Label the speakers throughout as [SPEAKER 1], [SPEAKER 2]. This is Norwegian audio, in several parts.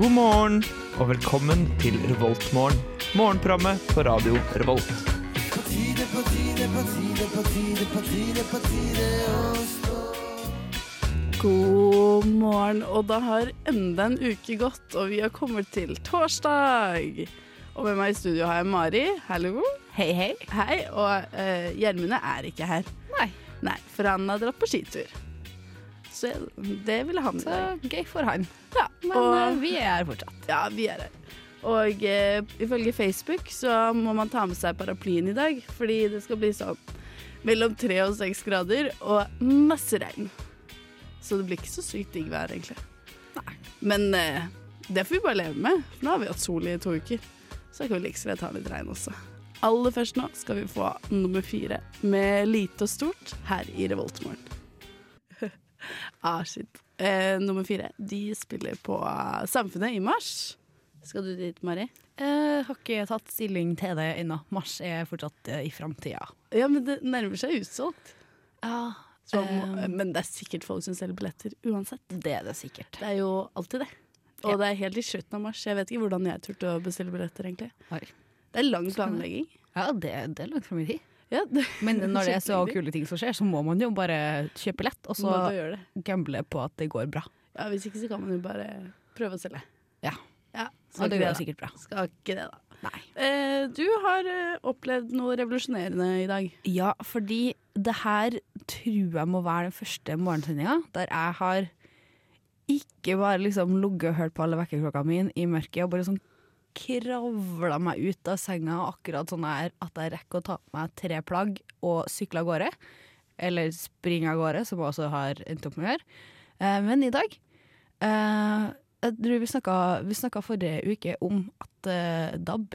[SPEAKER 1] God morgen og velkommen til Revoltmorgen. Morgenprogrammet på radio Revolt.
[SPEAKER 2] God morgen, og da har enda en uke gått, og vi har kommet til torsdag. Og med meg i studio har jeg Mari. Hallo.
[SPEAKER 3] Hei, hei.
[SPEAKER 2] Hei. Og eh, Gjermund er ikke her.
[SPEAKER 3] Nei.
[SPEAKER 2] Nei, for han har dratt på skitur. Så det ville han i
[SPEAKER 3] Så
[SPEAKER 2] dag.
[SPEAKER 3] gøy for han.
[SPEAKER 2] Ja,
[SPEAKER 3] Men
[SPEAKER 2] og-
[SPEAKER 3] eh, vi er her fortsatt.
[SPEAKER 2] Ja, vi er her. Og eh, ifølge Facebook så må man ta med seg paraplyen i dag, fordi det skal bli sånn mellom tre og seks grader og masse regn. Så det blir ikke så sykt digg vær, egentlig. Men eh, det får vi bare leve med, for nå har vi hatt sol i to uker. Så kan vi like så greit ta litt regn også. Aller først nå skal vi få nummer fire med lite og stort her i Revoltmorgen. ah, shit. Eh, nummer fire, de spiller på eh, Samfunnet i mars. Skal du dit, Mari?
[SPEAKER 3] Eh, har ikke tatt stilling til det ennå. Mars er fortsatt eh, i framtida.
[SPEAKER 2] Ja, men det nærmer seg utsolgt.
[SPEAKER 3] Ja,
[SPEAKER 2] Så, må- men det er sikkert folk som selger billetter uansett.
[SPEAKER 3] eh, det er det sikkert.
[SPEAKER 2] Det er jo alltid det. Og det er helt i slutten av mars. Jeg vet ikke hvordan jeg turte å bestille billetter, egentlig.
[SPEAKER 3] Oi.
[SPEAKER 2] Det er lang planlegging.
[SPEAKER 3] Ja, det, det er langt fram i tid.
[SPEAKER 2] Ja, det,
[SPEAKER 3] Men når det er så
[SPEAKER 2] Skikkelig.
[SPEAKER 3] kule ting som skjer, så må man jo bare kjøpe lett, og så
[SPEAKER 2] Må bare gjøre det.
[SPEAKER 3] gamble på at det går bra.
[SPEAKER 2] Ja, hvis ikke så kan man jo bare prøve å selge.
[SPEAKER 3] Ja,
[SPEAKER 2] Ja,
[SPEAKER 3] og det
[SPEAKER 2] ikke
[SPEAKER 3] går
[SPEAKER 2] da.
[SPEAKER 3] sikkert bra.
[SPEAKER 2] Skal ikke det, da.
[SPEAKER 3] Nei.
[SPEAKER 2] Eh, du har eh, opplevd noe revolusjonerende i dag.
[SPEAKER 3] Ja, fordi det her tror jeg må være den første morgensendinga der jeg har ikke bare liksom ligget og hørt på alle vekkerklokka mine i mørket og bare sånn kravla meg ut av senga akkurat sånn her at jeg rekker å ta på meg tre plagg og sykle av gårde. Eller springe av gårde, som jeg også har endt opp med å gjøre. Eh, Men i dag eh, Jeg tror vi snakka, vi snakka forrige uke om at eh, DAB,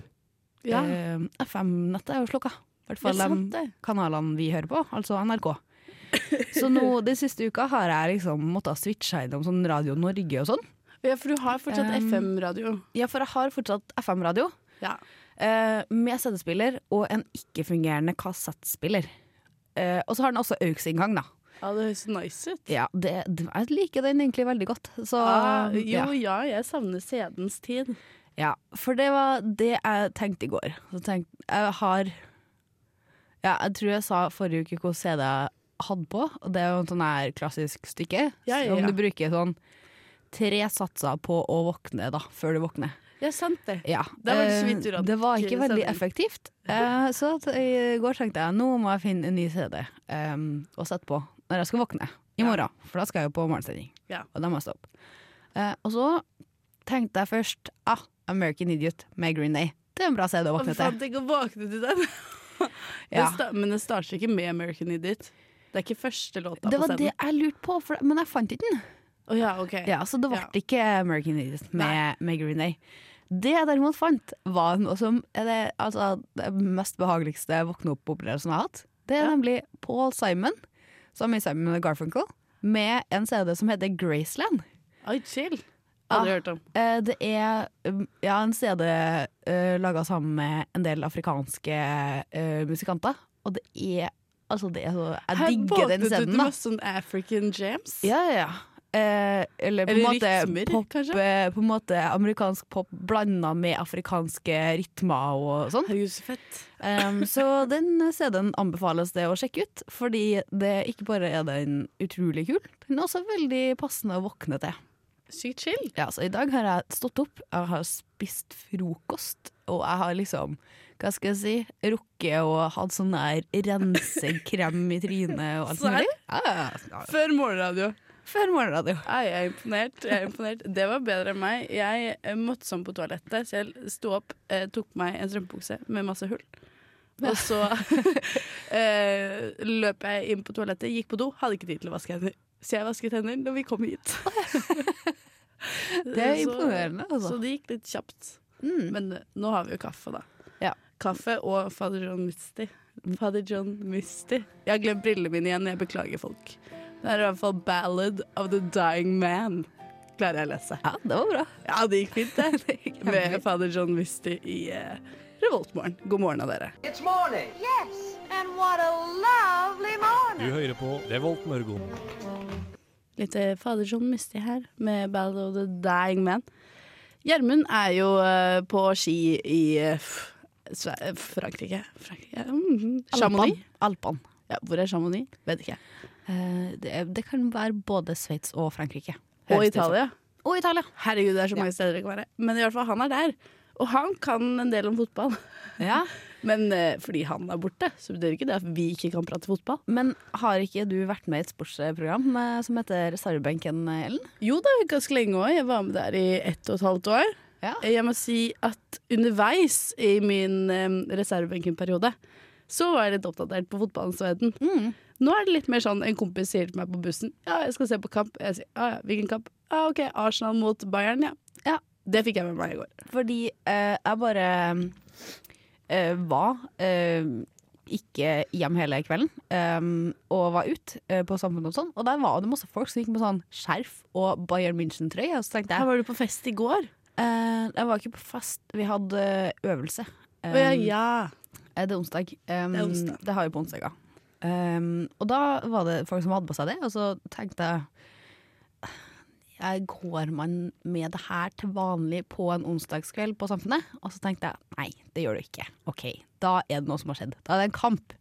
[SPEAKER 3] eh, FM-nettet, er jo slukka. I hvert fall
[SPEAKER 2] Det er sant,
[SPEAKER 3] de
[SPEAKER 2] det.
[SPEAKER 3] kanalene vi hører på, altså NRK. Så nå, den siste uka har jeg liksom måttet switche innom sånn Radio Norge og sånn.
[SPEAKER 2] Ja, for du har fortsatt
[SPEAKER 3] Um,
[SPEAKER 2] FM-radio.
[SPEAKER 3] Ja, for jeg har fortsatt FM-radio
[SPEAKER 2] Ja.
[SPEAKER 3] eh, med CD-spiller og en ikke-fungerende kassettspiller. Eh, og så har den også AUX-inngang, da.
[SPEAKER 2] ja, det høres nice ut.
[SPEAKER 3] Ja, det, det- jeg liker den egentlig veldig godt. Så,
[SPEAKER 2] Ah,
[SPEAKER 3] ja.
[SPEAKER 2] jo, ja, jeg savner CD-ens tid.
[SPEAKER 3] Ja, for det var det jeg tenkte i går. Så tenkte, jeg har ja, Jeg tror jeg sa forrige uke hvor CD jeg hadde på, og det er jo en sånn her klassisk stykke.
[SPEAKER 2] Ja, ja,
[SPEAKER 3] Om
[SPEAKER 2] ja.
[SPEAKER 3] du bruker sånn tre satser på å våkne, da, før du våkner.
[SPEAKER 2] Ja, sant det.
[SPEAKER 3] Ja.
[SPEAKER 2] Det var
[SPEAKER 3] eh,
[SPEAKER 2] så vidt du rakk
[SPEAKER 3] det var ikke veldig
[SPEAKER 2] sending.
[SPEAKER 3] effektivt. Eh, så at i går tenkte jeg nå må jeg finne en ny CD em, å sette på når jeg skal våkne i morgen. For da skal jeg jo på morgensending,
[SPEAKER 2] Ja.
[SPEAKER 3] og da må jeg stå opp. Eh, og så tenkte jeg først ah, American Idiot med Green Day. Det er en bra CD å
[SPEAKER 2] Å, fy
[SPEAKER 3] våkne
[SPEAKER 2] faen,
[SPEAKER 3] til.
[SPEAKER 2] tenk å våkne til den.
[SPEAKER 3] Ja.
[SPEAKER 2] Det sta- men det starter ikke med American Idiot. Det er ikke første låta
[SPEAKER 3] Det
[SPEAKER 2] på
[SPEAKER 3] var
[SPEAKER 2] scenen.
[SPEAKER 3] det jeg lurte på, for, men jeg fant ikke den.
[SPEAKER 2] Å ja, ok.
[SPEAKER 3] Ja, Så det ble
[SPEAKER 2] Ja.
[SPEAKER 3] ikke American Idiot med, med Green Day. Det jeg derimot fant, var noe som er det, altså, det mest behageligste våkne-opp-opplevelsen jeg har hatt. Det er
[SPEAKER 2] Ja.
[SPEAKER 3] nemlig Paul Simon, som i Simon and Garfunkel, med en CD som heter Graceland.
[SPEAKER 2] Oi, chill. Aldri
[SPEAKER 3] Ja.
[SPEAKER 2] hørt om.
[SPEAKER 3] Eh, Det er um, ja, en CD uh, laga sammen med en del afrikanske eh, musikanter, og det er Altså, det er så Jeg digger den CD-en,
[SPEAKER 2] Her våknet du
[SPEAKER 3] da.
[SPEAKER 2] til masse sånn African Jams.
[SPEAKER 3] Ja, ja, ja. Eh, eller på en
[SPEAKER 2] Eller
[SPEAKER 3] måte
[SPEAKER 2] rytmer,
[SPEAKER 3] pop,
[SPEAKER 2] kanskje?
[SPEAKER 3] eh, På en måte amerikansk pop blanda med afrikanske rytmer og sånn.
[SPEAKER 2] Herregud, så fett.
[SPEAKER 3] Em, så den CD-en anbefales det å sjekke ut, fordi det ikke bare er den utrolig kul, den er også veldig passende å våkne til.
[SPEAKER 2] Sykt chill.
[SPEAKER 3] Ja, så i dag har jeg stått opp, jeg har spist frokost, og jeg har liksom, hva skal jeg si, rukket og hatt sånn der rensekrem i trynet og alt
[SPEAKER 2] Serr?
[SPEAKER 3] mulig. Ja, ja, ja.
[SPEAKER 2] Før morgenradio.
[SPEAKER 3] Før morgenradio.
[SPEAKER 2] Nei, jeg er imponert. Jeg er imponert. Det var bedre enn meg. Jeg eh, måtte sånn på toalettet, så jeg sto opp, eh, tok på meg en strømpebukse med masse hull. Og så eh, løp jeg inn på toalettet, gikk på do, hadde ikke tid til å vaske hender. Så jeg vasket hender når vi kom hit.
[SPEAKER 3] Det er imponerende,
[SPEAKER 2] Så,
[SPEAKER 3] altså.
[SPEAKER 2] så det gikk litt kjapt.
[SPEAKER 3] Mm.
[SPEAKER 2] Men eh, nå har vi jo kaffe, da.
[SPEAKER 3] Ja.
[SPEAKER 2] Kaffe og sånn Father John Misty. Father John Misty. Jeg har glemt brillene mine igjen, jeg beklager folk. Det er i hvert fall 'Ballad of the Dying Man'. Klarer jeg å lese.
[SPEAKER 3] Ja, det var bra.
[SPEAKER 2] Ja, det gikk fint, det.
[SPEAKER 3] gikk
[SPEAKER 2] Med
[SPEAKER 3] kjempefint.
[SPEAKER 2] Father John Misty i eh, Revoltmorgen. God morgen av dere.
[SPEAKER 4] It's morning.
[SPEAKER 5] Yes, and what a lovely morning.
[SPEAKER 6] Du hører på Revolt Mørgon.
[SPEAKER 2] Litt eh, Fader John Misty her med Ballad of the Dying Man. Gjermund er jo eh, på ski i eh, f- Sve- eh, Frankrike. Frankrike. Mm, Chamonix?
[SPEAKER 3] Alpene.
[SPEAKER 2] Ja, hvor er Chamonix? Vet ikke.
[SPEAKER 3] Eh, det, er- det kan være både Sveits og Frankrike.
[SPEAKER 2] Og
[SPEAKER 3] Høres det ut som.
[SPEAKER 2] Italia.
[SPEAKER 3] Og Italia.
[SPEAKER 2] Herregud, det er så mange steder det kan være. Men i hvert fall, han er der. Og han kan en del om fotball.
[SPEAKER 3] Ja.
[SPEAKER 2] Men eh, fordi han er borte, så betyr ikke det at vi ikke kan prate fotball.
[SPEAKER 3] Men har ikke du vært med i et sportsprogram eh, som heter Reservebenken, Ellen?
[SPEAKER 2] Jo da, ganske lenge òg. Jeg var med der i ett og et halvt år.
[SPEAKER 3] Ja.
[SPEAKER 2] Jeg må si at underveis i min um, reservebenkenperiode så var jeg litt oppdatert på fotballens verden. Nå er det litt mer sånn en kompis sier til meg på bussen Ja, jeg skal se på kamp. Jeg sier ja, ja, hvilken kamp? Ja, OK, Arsenal mot Bayern, ja.
[SPEAKER 3] Ja.
[SPEAKER 2] Det fikk jeg med meg i går.
[SPEAKER 3] Fordi eh, jeg bare eh, var eh, ikke hjem hele kvelden, eh, og var ute på samfunnet og sånn. Og der var det masse folk som gikk med sånn skjerf og Bayern München-trøye. Og så tenkte jeg
[SPEAKER 2] var du på fest i går.
[SPEAKER 3] eh, Jeg var ikke på fest, vi hadde eh, øvelse.
[SPEAKER 2] Å ja,
[SPEAKER 3] Eh,
[SPEAKER 2] ja.
[SPEAKER 3] Eh, Det er onsdag. Um,
[SPEAKER 2] Det er onsdag.
[SPEAKER 3] det har vi på onsdager. Um, og da var det folk som hadde på seg det, og så tenkte jeg jeg Går man med det her til vanlig på en onsdagskveld på Samfunnet? Og så tenkte jeg nei, det gjør du ikke. Ok, Da er det noe som har skjedd. Da er det en kamp.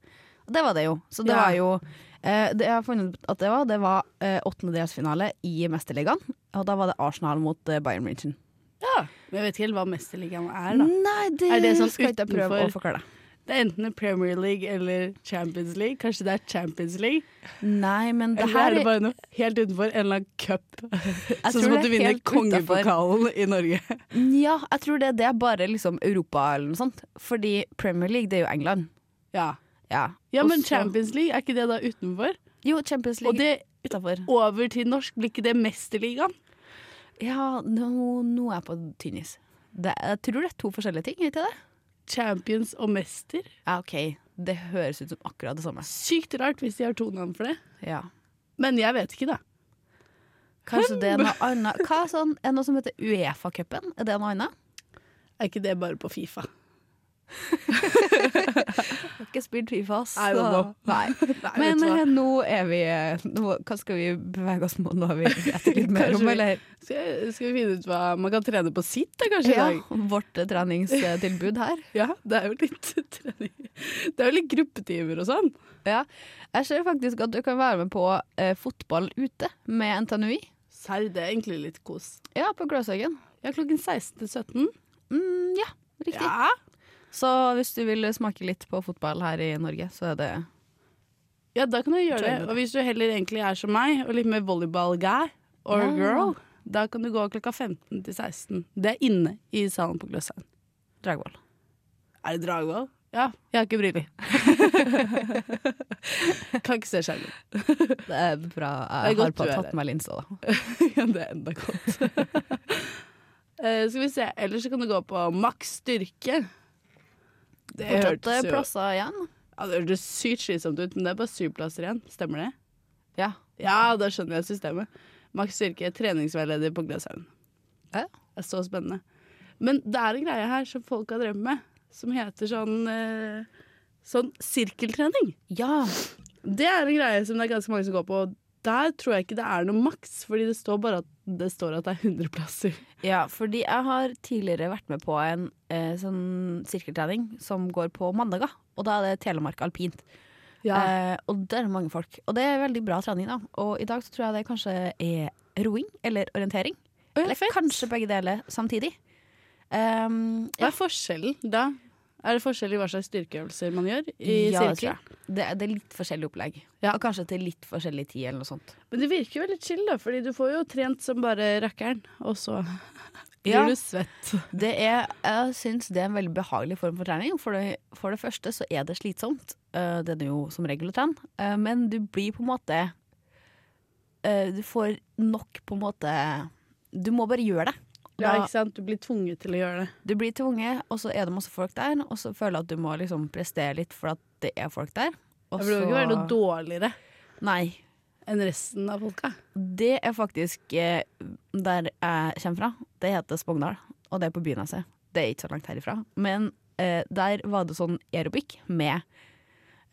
[SPEAKER 3] Og det var det jo. Så det
[SPEAKER 2] Ja.
[SPEAKER 3] var jo eh, Det jeg har funnet ut at det var, det var eh, åttendedelsfinale i Mesterligaen. Og da var det Arsenal mot eh, Bayern München.
[SPEAKER 2] ja. Men jeg vet ikke helt hva mesterligaen er, da.
[SPEAKER 3] Nei, det,
[SPEAKER 2] Er det sånn
[SPEAKER 3] skal ikke jeg prøve
[SPEAKER 2] utenfor-
[SPEAKER 3] å forklare deg.
[SPEAKER 2] Det er enten Premier League eller Champions League. Kanskje det er Champions League?
[SPEAKER 3] Nei, men det
[SPEAKER 2] Eller
[SPEAKER 3] her
[SPEAKER 2] er det bare noe helt utenfor en eller annen cup?
[SPEAKER 3] Jeg
[SPEAKER 2] Sånn
[SPEAKER 3] tror
[SPEAKER 2] som
[SPEAKER 3] det
[SPEAKER 2] at du
[SPEAKER 3] er
[SPEAKER 2] vinner
[SPEAKER 3] helt
[SPEAKER 2] kongepokalen i Norge.
[SPEAKER 3] Ja, jeg tror det, det er bare liksom Europa eller noe sånt. Fordi Premier League, det er jo England.
[SPEAKER 2] Ja.
[SPEAKER 3] Ja,
[SPEAKER 2] ja, men
[SPEAKER 3] Også-
[SPEAKER 2] Champions League, er ikke det da utenfor?
[SPEAKER 3] Jo, Champions
[SPEAKER 2] Og
[SPEAKER 3] League
[SPEAKER 2] det
[SPEAKER 3] utenfor.
[SPEAKER 2] over til norsk, blir ikke det Mesterligaen?
[SPEAKER 3] Ja, nå, nå er jeg på tynn is. Det- Jeg tror det er to forskjellige ting, ikke det?
[SPEAKER 2] Champions og mester?
[SPEAKER 3] Ja, OK. Det høres ut som akkurat det samme.
[SPEAKER 2] Sykt rart hvis de har to navn for det.
[SPEAKER 3] Ja.
[SPEAKER 2] Men jeg vet ikke, da.
[SPEAKER 3] Kanskje det er noe annet Hva er sånn, er det noe som heter Uefa-cupen? Er det noe annet?
[SPEAKER 2] Er ikke det bare på Fifa?
[SPEAKER 3] Jeg har ikke spilt Fifa, så
[SPEAKER 2] I don't know.
[SPEAKER 3] Nei.
[SPEAKER 2] vet
[SPEAKER 3] Men
[SPEAKER 2] du hva?
[SPEAKER 3] eh, nå er vi eh, nå, Hva skal vi bevege oss mot nå? Har vi etter litt mer
[SPEAKER 2] Kanskje
[SPEAKER 3] om,
[SPEAKER 2] vi-
[SPEAKER 3] eller?
[SPEAKER 2] Skal, skal vi finne ut hva man kan trene på sitt, da, kanskje? i
[SPEAKER 3] Ja,
[SPEAKER 2] dag?
[SPEAKER 3] vårt eh, treningstilbud her.
[SPEAKER 2] ja det er jo litt trening. Det er jo litt gruppetimer og sånn.
[SPEAKER 3] Ja. Jeg ser faktisk at du kan være med på eh, fotball ute med NTNUI.
[SPEAKER 2] Serr, det er egentlig litt kos.
[SPEAKER 3] Ja, på Gløshaugen.
[SPEAKER 2] Ja, klokken 16 til 17.
[SPEAKER 3] Mm, ja, riktig.
[SPEAKER 2] Ja.
[SPEAKER 3] Så hvis du vil smake litt på fotball her i Norge, så er det
[SPEAKER 2] Ja, da kan du gjøre
[SPEAKER 3] Joine
[SPEAKER 2] det.
[SPEAKER 3] det.
[SPEAKER 2] Og hvis du heller egentlig er som meg, og litt mer volleyball-guy or
[SPEAKER 3] Ja.
[SPEAKER 2] girl, da kan du gå klokka 15 til 16. Det er inne i salen på Gløshaugen.
[SPEAKER 3] Dragball.
[SPEAKER 2] Er det Dragvoll? Ja. Jeg har ikke briller. kan ikke se skjermen.
[SPEAKER 3] Det er bra.
[SPEAKER 2] Det
[SPEAKER 3] Jeg
[SPEAKER 2] er godt
[SPEAKER 3] har på,
[SPEAKER 2] du er
[SPEAKER 3] tatt
[SPEAKER 2] her.
[SPEAKER 3] meg linsa, da.
[SPEAKER 2] Ja, det er enda godt. Eh, skal vi se. Ellers så kan du gå på maks styrke. Det
[SPEAKER 3] Fortsatt eh,
[SPEAKER 2] hørtes jo
[SPEAKER 3] plasser igjen.
[SPEAKER 2] ja, Det hørtes sykt slitsomt ut, men det er bare syv plasser igjen. Stemmer det?
[SPEAKER 3] Ja.
[SPEAKER 2] Ja, da skjønner jeg systemet. Max Styrke, treningsveileder på Gløshaugen.
[SPEAKER 3] Ja.
[SPEAKER 2] Det er så spennende. Men det er en greie her som folk har drevet med, som heter sånn, eh, sånn sirkeltrening.
[SPEAKER 3] Ja.
[SPEAKER 2] Det er en greie som det er ganske mange som går på. og Der tror jeg ikke det er noe maks, fordi det står bare at det, står at det er 100 plasser.
[SPEAKER 3] ja, fordi jeg har tidligere vært med på en eh, sånn sirkeltrening som går på mandager. Og da er det Telemark alpint.
[SPEAKER 2] Eh,
[SPEAKER 3] Eh, og det er mange folk. Og det er veldig bra trening, da. Og i dag så tror jeg det kanskje er roing eller orientering.
[SPEAKER 2] ja,
[SPEAKER 3] eller
[SPEAKER 2] fett.
[SPEAKER 3] kanskje begge deler samtidig. Um,
[SPEAKER 2] Hva er forskjellen da? Er det forskjell i hva slags styrkeøvelser man gjør i
[SPEAKER 3] ja, det, tror
[SPEAKER 2] sirkel?
[SPEAKER 3] jeg. det, det er litt forskjellig opplegg.
[SPEAKER 2] Ja.
[SPEAKER 3] Og kanskje til litt forskjellig tid eller noe sånt.
[SPEAKER 2] Men det virker jo veldig chill, da, fordi du får jo trent som bare rakkeren, og så blir
[SPEAKER 3] Ja.
[SPEAKER 2] du svett.
[SPEAKER 3] Det er, jeg syns det er en veldig behagelig form for trening. For det, for det første så er det slitsomt. Eh, det er det jo som regel å trene. Eh, men du blir på en måte eh, Du får nok på en måte Du må bare gjøre det.
[SPEAKER 2] Ja,
[SPEAKER 3] Da-
[SPEAKER 2] ikke sant? Du blir tvunget til å gjøre det.
[SPEAKER 3] Du blir tvunget, og så er det masse folk der, og så føler jeg at du må liksom prestere litt for at det er folk der. Og
[SPEAKER 2] Det blir jo
[SPEAKER 3] så-
[SPEAKER 2] ikke være noe dårligere
[SPEAKER 3] Nei.
[SPEAKER 2] enn resten av folka.
[SPEAKER 3] Det er faktisk eh, der jeg kommer fra. Det heter Spogndal, og det er på Byneset. Det er ikke så langt herifra. Men eh, der var det sånn aerobic med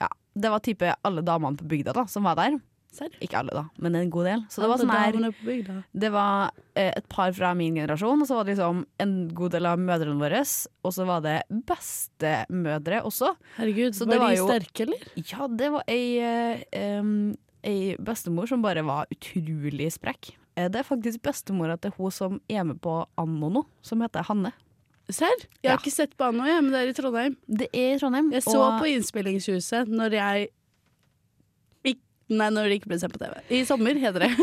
[SPEAKER 3] Ja, det var type alle damene på bygda da som var der.
[SPEAKER 2] Serr?
[SPEAKER 3] Ikke alle, da, men en god del. Så det var sånn
[SPEAKER 2] Alle
[SPEAKER 3] her
[SPEAKER 2] damene på bygda.
[SPEAKER 3] Det var eh, et par fra min generasjon, og så var det liksom en god del av mødrene våre. Og så var det bestemødre også.
[SPEAKER 2] Herregud,
[SPEAKER 3] Så
[SPEAKER 2] var,
[SPEAKER 3] det var
[SPEAKER 2] de
[SPEAKER 3] jo-
[SPEAKER 2] sterke, eller?
[SPEAKER 3] Ja, det var ei, eh, em, ei bestemor som bare var utrolig sprekk. Eh, Det er faktisk bestemora til hun som er med på Anno nå, som heter Hanne.
[SPEAKER 2] Serr? Jeg
[SPEAKER 3] Ja.
[SPEAKER 2] har ikke sett på Anno, jeg, men det er i Trondheim.
[SPEAKER 3] Det er i Trondheim.
[SPEAKER 2] Jeg så på Innspillingshuset når jeg ikk- Nei, når det ikke ble sendt på TV. I sommer, heter det.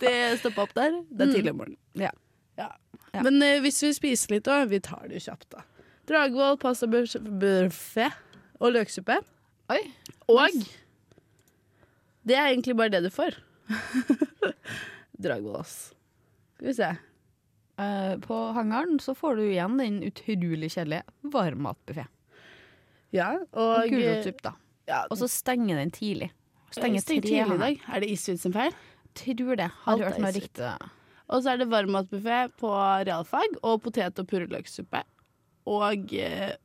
[SPEAKER 2] Det stoppa opp der. Det er
[SPEAKER 3] Mm.
[SPEAKER 2] tidlig om morgenen.
[SPEAKER 3] Ja.
[SPEAKER 2] Ja.
[SPEAKER 3] Ja.
[SPEAKER 2] Men eh, hvis vi spiser litt òg, vi tar det jo kjapt, da. Dragvoll pastabuffé og løksuppe.
[SPEAKER 3] Oi.
[SPEAKER 2] Og det er egentlig bare det du får. Dragvoll, ass. Skal vi se.
[SPEAKER 3] Eh, på hangaren så får du igjen den utrolig kjedelige varmmatbuffeen.
[SPEAKER 2] Ja,
[SPEAKER 3] Og
[SPEAKER 2] og eh,
[SPEAKER 3] gulrotsuppe, da.
[SPEAKER 2] Ja,
[SPEAKER 3] Og så stenger den tidlig. Stenger
[SPEAKER 2] stengt
[SPEAKER 3] tre
[SPEAKER 2] tidlig i
[SPEAKER 3] hangaren.
[SPEAKER 2] dag. Er det Isfjord sin feil?
[SPEAKER 3] Tror det. Har
[SPEAKER 2] Alt er
[SPEAKER 3] hørt noe
[SPEAKER 2] i sitt.
[SPEAKER 3] riktig.
[SPEAKER 2] Og så er det varmmatbuffé på realfag og potet- og purreløksuppe. Og eh,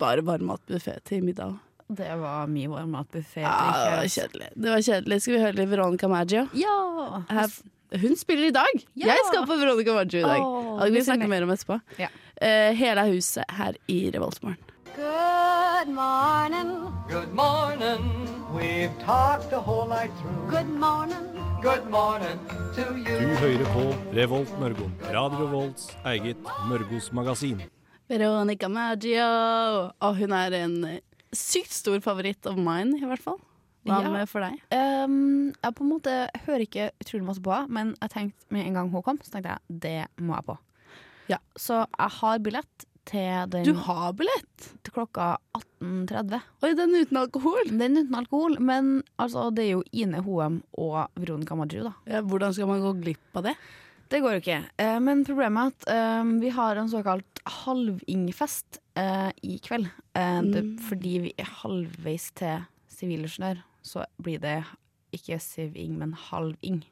[SPEAKER 2] bare varmmatbuffé til middag.
[SPEAKER 3] Det var mye varm matbuffé.
[SPEAKER 2] Ja, det var kjedelig. Det var kjedelig. Skal vi høre litt Veronica Maggio?
[SPEAKER 3] Ja!
[SPEAKER 2] Her, hun spiller i dag!
[SPEAKER 3] Ja!
[SPEAKER 2] Jeg skal på Veronica Maggio i dag.
[SPEAKER 3] Åh,
[SPEAKER 2] Og vi
[SPEAKER 3] det
[SPEAKER 2] snakker
[SPEAKER 3] stemmer.
[SPEAKER 2] mer om etterpå.
[SPEAKER 3] Ja.
[SPEAKER 2] Eh, hele huset her i Revoltmorgen.
[SPEAKER 5] Good morning.
[SPEAKER 4] Good morning. We've talked the whole night through.
[SPEAKER 5] Good morning.
[SPEAKER 4] Good morning to
[SPEAKER 6] Du
[SPEAKER 4] you.
[SPEAKER 6] hører på Revolt Mørgon. Radio Revolts eget Mørgos magasin.
[SPEAKER 2] Veronica Maggio! Og hun er en eh, sykt stor favoritt of mine, i hvert fall. Hva
[SPEAKER 3] Ja.
[SPEAKER 2] med for deg?
[SPEAKER 3] Ehm, jeg på en måte hører ikke utrolig masse på henne, men jeg tenkte med en gang hun kom, så tenkte jeg det må jeg på.
[SPEAKER 2] Ja.
[SPEAKER 3] Så jeg har billett til den
[SPEAKER 2] Du har billett!
[SPEAKER 3] til klokka 18.30.
[SPEAKER 2] Oi, den uten alkohol!
[SPEAKER 3] Den uten alkohol, men altså, det er jo Ine Hoem og Veronica Maggio, da.
[SPEAKER 2] Ja, hvordan skal man gå glipp av det?
[SPEAKER 3] Det går jo ikke. Eh, Men problemet er at eh, vi har en såkalt halvingfest eh, i kveld. Eh, det, fordi vi er halvveis til sivilingeniør, så blir det ikke siving, men halving.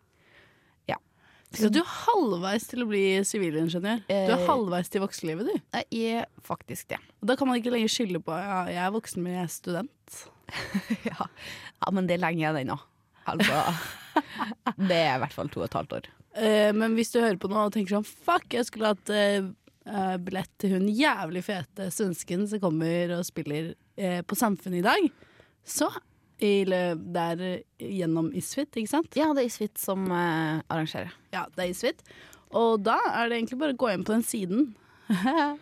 [SPEAKER 2] Så du er halvveis til å bli sivilingeniør. Du er
[SPEAKER 3] Eh.
[SPEAKER 2] halvveis til voksenlivet, du.
[SPEAKER 3] Jeg er faktisk det.
[SPEAKER 2] Og da kan man ikke lenger skylde på ja, jeg er voksen, men jeg er student.
[SPEAKER 3] Ja, ja men det er lenge igjen ennå. Altså, det er i hvert fall to og et halvt år.
[SPEAKER 2] Eh, men hvis du hører på nå og tenker sånn fuck, jeg skulle hatt eh, eh, billett til hun jævlig fete svensken som kommer og spiller eh, på Samfunnet i dag, så i, lø- der eh, gjennom Isfit, ikke sant?
[SPEAKER 3] Ja, det er Isfit som eh, arrangerer.
[SPEAKER 2] Ja, det er isfritt. Og da er det egentlig bare å gå inn på den siden.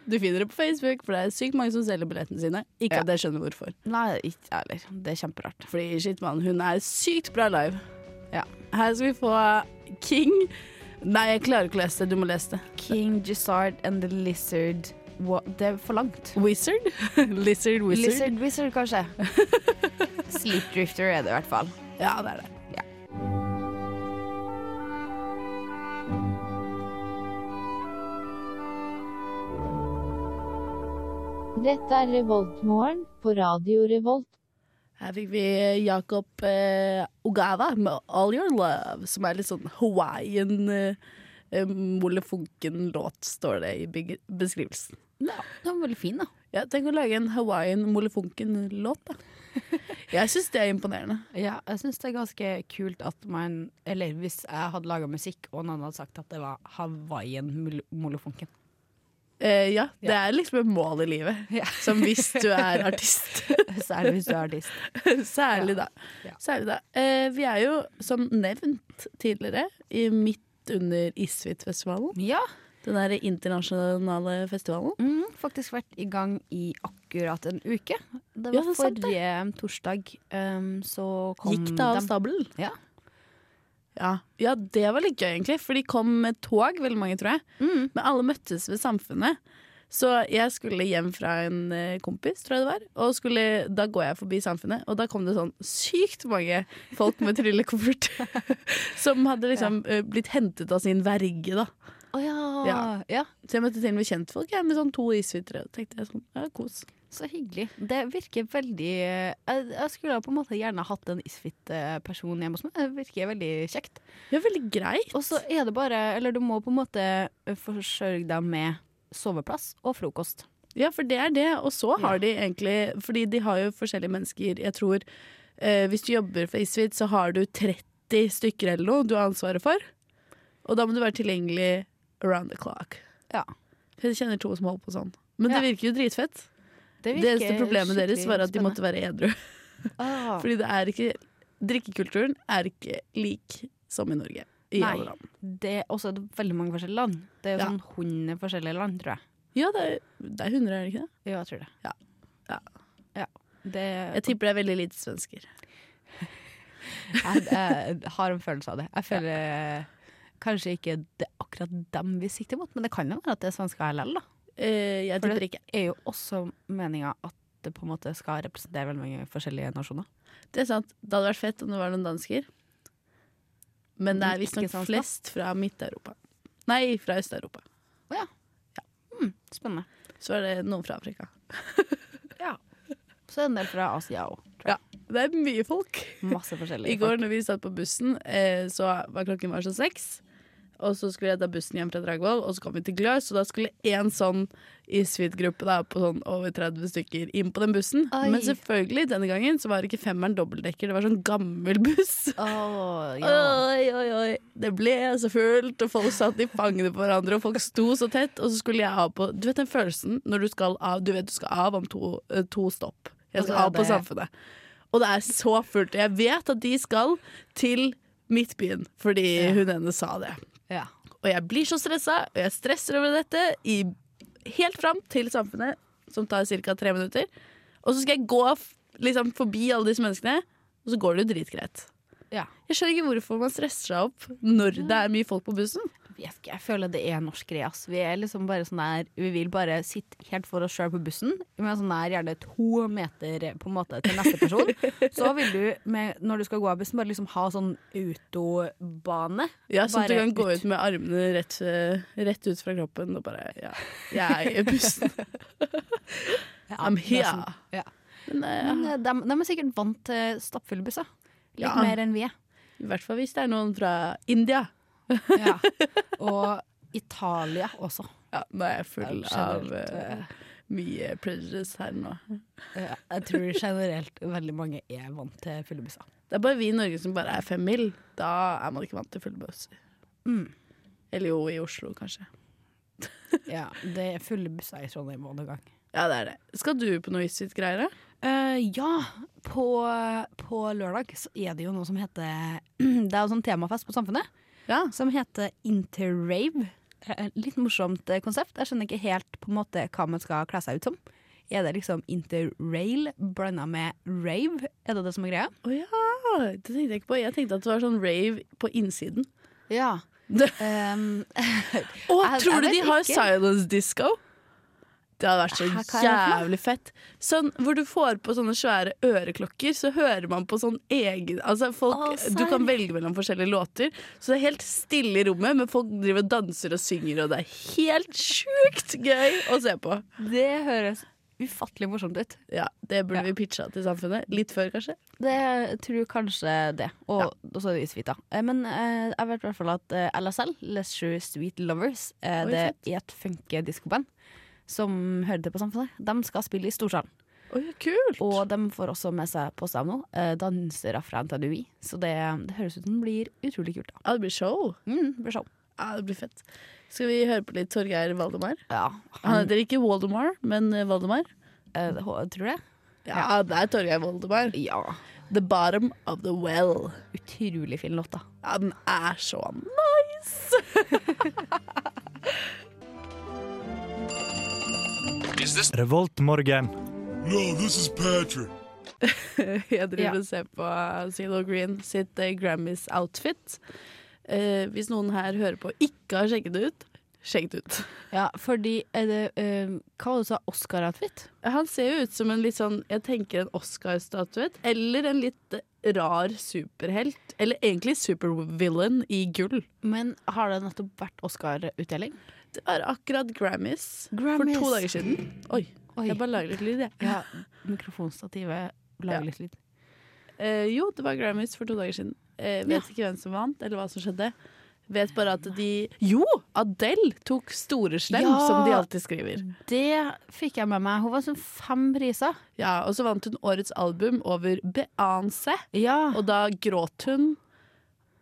[SPEAKER 2] Du finner det på Facebook, for det er sykt mange som selger billettene sine. Ikke
[SPEAKER 3] Ja.
[SPEAKER 2] at jeg skjønner hvorfor.
[SPEAKER 3] Nei, ikke jeg heller. Det er kjemperart.
[SPEAKER 2] Fordi shit, mann, hun er sykt bra live.
[SPEAKER 3] Ja.
[SPEAKER 2] Her skal vi få King. Nei, jeg klarer ikke å lese det. Du må lese det.
[SPEAKER 3] King Gizzard and the Lizard Wa- Det er for langt.
[SPEAKER 2] Wizard? Lizard Wizard?
[SPEAKER 3] Lizard Wizard, kanskje. Sleep Drifter er det i hvert fall.
[SPEAKER 2] Ja, det er det.
[SPEAKER 3] Ja.
[SPEAKER 7] Dette er Revoltmorgen på Radio Revolt.
[SPEAKER 2] Her fikk vi Jakob eh, Ogawa med All Your Love, som er litt sånn Hawaiian eh, eh, molefonken-låt, står det i beg- beskrivelsen.
[SPEAKER 3] Ja, den var veldig fin, da.
[SPEAKER 2] Ja, tenk å lage en Hawaiian molefonken-låt, da. Jeg syns det er imponerende.
[SPEAKER 3] Ja, jeg syns det er ganske kult at man Eller hvis jeg hadde laga musikk, og noen hadde sagt at det var Hawaiian-molefonken.
[SPEAKER 2] Eh, ja, det er liksom et mål i livet.
[SPEAKER 3] Ja.
[SPEAKER 2] Som hvis du er artist.
[SPEAKER 3] Særlig hvis du er artist.
[SPEAKER 2] Særlig da.
[SPEAKER 3] Ja.
[SPEAKER 2] Særlig da. Eh, vi er jo, som nevnt tidligere, i midt under Isfit-festivalen.
[SPEAKER 3] Ja.
[SPEAKER 2] Den derre internasjonale festivalen.
[SPEAKER 3] Mm, faktisk vært i gang i akkurat en uke. Det var
[SPEAKER 2] Ja, det er sant, det.
[SPEAKER 3] forrige torsdag, um, så kom
[SPEAKER 2] Gikk det av
[SPEAKER 3] dem-
[SPEAKER 2] stabelen?
[SPEAKER 3] Ja.
[SPEAKER 2] Ja. ja, det var litt gøy, egentlig. For de kom med tog, veldig mange, tror jeg.
[SPEAKER 3] Mm.
[SPEAKER 2] Men alle møttes ved Samfunnet. Så jeg skulle hjem fra en eh, kompis, tror jeg det var. Og skulle, da går jeg forbi Samfunnet, og da kom det sånn sykt mange folk med trillekoffert. som hadde liksom eh, blitt hentet av sin verge, da.
[SPEAKER 3] Å ja. Ja.
[SPEAKER 2] Ja. Så jeg møtte til og med kjentfolk jeg, med sånn to isvitere. Og tenkte jeg sånn, ja, kos.
[SPEAKER 3] Så hyggelig. Det virker veldig eh, Jeg, jeg skulle på en måte gjerne hatt en isfit-person hjemme hos meg. Det virker veldig kjekt.
[SPEAKER 2] Ja, veldig greit.
[SPEAKER 3] Og så er det bare Eller du må på en måte forsørge deg med soveplass og frokost.
[SPEAKER 2] Ja, for det er det. Og så har de egentlig Fordi de har jo forskjellige mennesker. Jeg tror eh, hvis du jobber for Isfit, så har du 30 stykker eller noe du har ansvaret for. Og da må du være tilgjengelig around the clock.
[SPEAKER 3] Ja.
[SPEAKER 2] Jeg kjenner to som holder på sånn. Men det
[SPEAKER 3] Ja.
[SPEAKER 2] virker jo dritfett.
[SPEAKER 3] Det,
[SPEAKER 2] Det eneste problemet deres var at de måtte være edru.
[SPEAKER 3] ah,
[SPEAKER 2] Fordi det er ikke Drikkekulturen er ikke lik som i Norge. I
[SPEAKER 3] Nei.
[SPEAKER 2] alle land.
[SPEAKER 3] Det er også veldig mange forskjellige land. Det er jo
[SPEAKER 2] Ja.
[SPEAKER 3] sånn hundre forskjellige land, tror jeg.
[SPEAKER 2] Ja, det er, det er 100, er det ikke det?
[SPEAKER 3] Ja, jeg tror det.
[SPEAKER 2] Ja. Ja.
[SPEAKER 3] Ja. Det,
[SPEAKER 2] Jeg tipper det er veldig lite svensker.
[SPEAKER 3] jeg, jeg har en følelse av det. Jeg føler eh, kanskje ikke det er akkurat dem vi sikter mot, men det kan jo være at det er svensker LL, da.
[SPEAKER 2] Eh, jeg
[SPEAKER 3] For
[SPEAKER 2] tipper
[SPEAKER 3] det
[SPEAKER 2] ikke.
[SPEAKER 3] er jo også meninga at det på en måte skal representere veldig mange forskjellige nasjoner.
[SPEAKER 2] Det er sant. Det hadde vært fett om det var noen dansker. Men det
[SPEAKER 3] Men
[SPEAKER 2] er visstnok
[SPEAKER 3] ikke svensker.
[SPEAKER 2] flest fra Midt-Europa. Nei, fra Øst-Europa.
[SPEAKER 3] Spennende.
[SPEAKER 2] Så er det noen fra Afrika.
[SPEAKER 3] Så er det en del fra Asia òg.
[SPEAKER 2] Det er mye folk.
[SPEAKER 3] Masse
[SPEAKER 2] I
[SPEAKER 3] forskjellige.
[SPEAKER 2] går når vi satt på bussen, eh, så var klokken var så seks. Og så skulle jeg ta bussen hjem fra Dragvoll, og så kom vi til Gløs. Og da skulle én sånn Isfit-gruppe da, på sånn over 30 stykker inn på den bussen.
[SPEAKER 3] Oi.
[SPEAKER 2] Men selvfølgelig, denne gangen så var ikke femmeren dobbeltdekker, det var sånn gammel buss.
[SPEAKER 3] Åh, ja.
[SPEAKER 2] Oi, oi, oi. Det ble så fullt, og folk satt i fangene på hverandre, og folk sto så tett. Og så skulle jeg av på Du vet den følelsen når du skal av Du vet du skal av om to, eh, to stopp. Jeg skal
[SPEAKER 3] Ja,
[SPEAKER 2] av på
[SPEAKER 3] det-
[SPEAKER 2] Samfunnet. Og det er så fullt. Og jeg vet at de skal til Midtbyen, fordi hun ene sa det.
[SPEAKER 3] ja.
[SPEAKER 2] Og jeg blir så stressa, og jeg stresser over dette i, helt fram til Samfunnet, som tar ca. tre minutter. Og så skal jeg gå f- liksom, forbi alle disse menneskene, og så går det jo dritgreit.
[SPEAKER 3] Ja.
[SPEAKER 2] Jeg skjønner ikke hvorfor man stresser seg opp når det er mye folk på bussen.
[SPEAKER 3] Jeg, vet ikke, jeg føler det er en norsk greie. ass. Vi er liksom bare sånn der Vi vil bare sitte helt for oss sjøl på bussen. Med sånn der gjerne to meter på en måte til neste person. Så vil du, med, når du skal gå av bussen, bare liksom ha sånn autobane.
[SPEAKER 2] Ja, Sånn at du
[SPEAKER 3] Bare
[SPEAKER 2] kan gå
[SPEAKER 3] ut.
[SPEAKER 2] ut med armene rett, eh, rett ut fra kroppen og bare Ja, jeg er i bussen. I'm
[SPEAKER 3] det er
[SPEAKER 2] here.
[SPEAKER 3] sånn- ja.
[SPEAKER 2] Men, eh,
[SPEAKER 3] Men eh, de, de er sikkert vant til stappfulle busser. Litt
[SPEAKER 2] Ja.
[SPEAKER 3] mer enn vi er.
[SPEAKER 2] I hvert fall hvis det er noen fra India.
[SPEAKER 3] Ja. Og Italia også.
[SPEAKER 2] Ja, nå er jeg full
[SPEAKER 3] Det er
[SPEAKER 2] av
[SPEAKER 3] generelt,
[SPEAKER 2] eh,
[SPEAKER 3] eh,
[SPEAKER 2] mye prejudice her nå.
[SPEAKER 3] Ja, Jeg tror generelt veldig mange er vant til fulle busser.
[SPEAKER 2] Det er bare vi i Norge som bare er fem mil. Da er man ikke vant til fulle busser.
[SPEAKER 3] Mm.
[SPEAKER 2] Eller jo, i Oslo, kanskje.
[SPEAKER 3] Ja, det er fulle busser i Trondheim og noen gang.
[SPEAKER 2] Ja, det er det. Skal du på noe Isfit-greier? da?
[SPEAKER 3] Eh, ja, på, på lørdag så er det jo noe som heter Det er jo sånn temafest på Samfunnet
[SPEAKER 2] Ja.
[SPEAKER 3] som heter Interrave. Eh, Litt morsomt eh, konsept. Jeg skjønner ikke helt på en måte hva man skal kle seg ut som. Er det liksom interrail blanda med rave? Er det det som er greia?
[SPEAKER 2] Å ja! Det tenkte jeg ikke på. Jeg tenkte at det var sånn rave på innsiden.
[SPEAKER 3] Ja. Ehm,
[SPEAKER 2] Det- Og
[SPEAKER 3] Jeg-
[SPEAKER 2] tror
[SPEAKER 3] jeg
[SPEAKER 2] du de
[SPEAKER 3] vet
[SPEAKER 2] har
[SPEAKER 3] ikke.
[SPEAKER 2] silence disco? Det hadde vært så
[SPEAKER 3] Hæ, hva er det for
[SPEAKER 2] jævlig fett. Sånn, hvor du får på sånne svære øreklokker, så hører man på sånn egen altså folk,
[SPEAKER 3] Å, serr.
[SPEAKER 2] Du kan velge mellom forskjellige låter, så det er helt stille i rommet, men folk driver og danser og synger, og det er helt sjukt gøy å se på.
[SPEAKER 3] det høres ufattelig morsomt ut.
[SPEAKER 2] Ja, Det burde
[SPEAKER 3] Ja.
[SPEAKER 2] vi pitcha til samfunnet. Litt før, kanskje.
[SPEAKER 3] Det tror jeg kanskje det. Og, og så er det isfita. Men eh, jeg vet i hvert fall at eh, LSL, Leisure Sweet Lovers, eh,
[SPEAKER 2] Oi,
[SPEAKER 3] det er et funky diskoband som hører til på Samfunnet. De skal spille i Storsalen.
[SPEAKER 2] Oi, kult!
[SPEAKER 3] Og de får også med seg på seg nå eh, dansere fra NTNUI. Så det, det høres ut som det blir utrolig kult. da
[SPEAKER 2] Ja, det blir show.
[SPEAKER 3] mm, det blir show.
[SPEAKER 2] Ja, det blir fett. Skal vi høre på litt Torgeir Valdemar?
[SPEAKER 3] Ja,
[SPEAKER 2] Han
[SPEAKER 3] han,
[SPEAKER 2] heter ikke Waldemar, men eh, Valdemar.
[SPEAKER 3] eh, hå- tror du det?
[SPEAKER 2] Ja, det er Torgeir Voldemar.
[SPEAKER 3] Ja.
[SPEAKER 2] The Bottom of the Well.
[SPEAKER 3] Utrolig fin låt, da.
[SPEAKER 2] Ja, den er så nice!
[SPEAKER 1] Revoltmorgen.
[SPEAKER 2] Jeg driver
[SPEAKER 3] Ja.
[SPEAKER 2] og ser på CeeLo Green sitt eh, Grammys outfit. Eh, hvis noen her hører på og ikke har sjekket det ut, sjekk det ut.
[SPEAKER 3] Ja, fordi eh, det, eh, Hva var det du sa? Oscar-outfit?
[SPEAKER 2] Han ser jo ut som en litt sånn, jeg tenker en Oscar-statuett, eller en litt eh, rar superhelt. Eller egentlig supervillain i gull.
[SPEAKER 3] Men har det nettopp vært Oscar-utdeling?
[SPEAKER 2] Det er akkurat Grammys,
[SPEAKER 3] Grammys.
[SPEAKER 2] for to dager siden. Oi,
[SPEAKER 3] Oi.
[SPEAKER 2] jeg bare lager litt lyd, jeg.
[SPEAKER 3] Ja, mikrofonstativet lager
[SPEAKER 2] Ja.
[SPEAKER 3] litt lyd.
[SPEAKER 2] Eh, jo, det var Grammys for to dager siden. Eh, vet
[SPEAKER 3] Ja.
[SPEAKER 2] ikke hvem som vant, eller hva som skjedde. Vet bare at de Jo! Adele tok store slem,
[SPEAKER 3] Ja.
[SPEAKER 2] som de alltid skriver.
[SPEAKER 3] Det fikk jeg med meg. Hun var sånn fem priser.
[SPEAKER 2] Ja, Og så vant hun årets album over Beyoncé,
[SPEAKER 3] Ja.
[SPEAKER 2] og da gråt hun.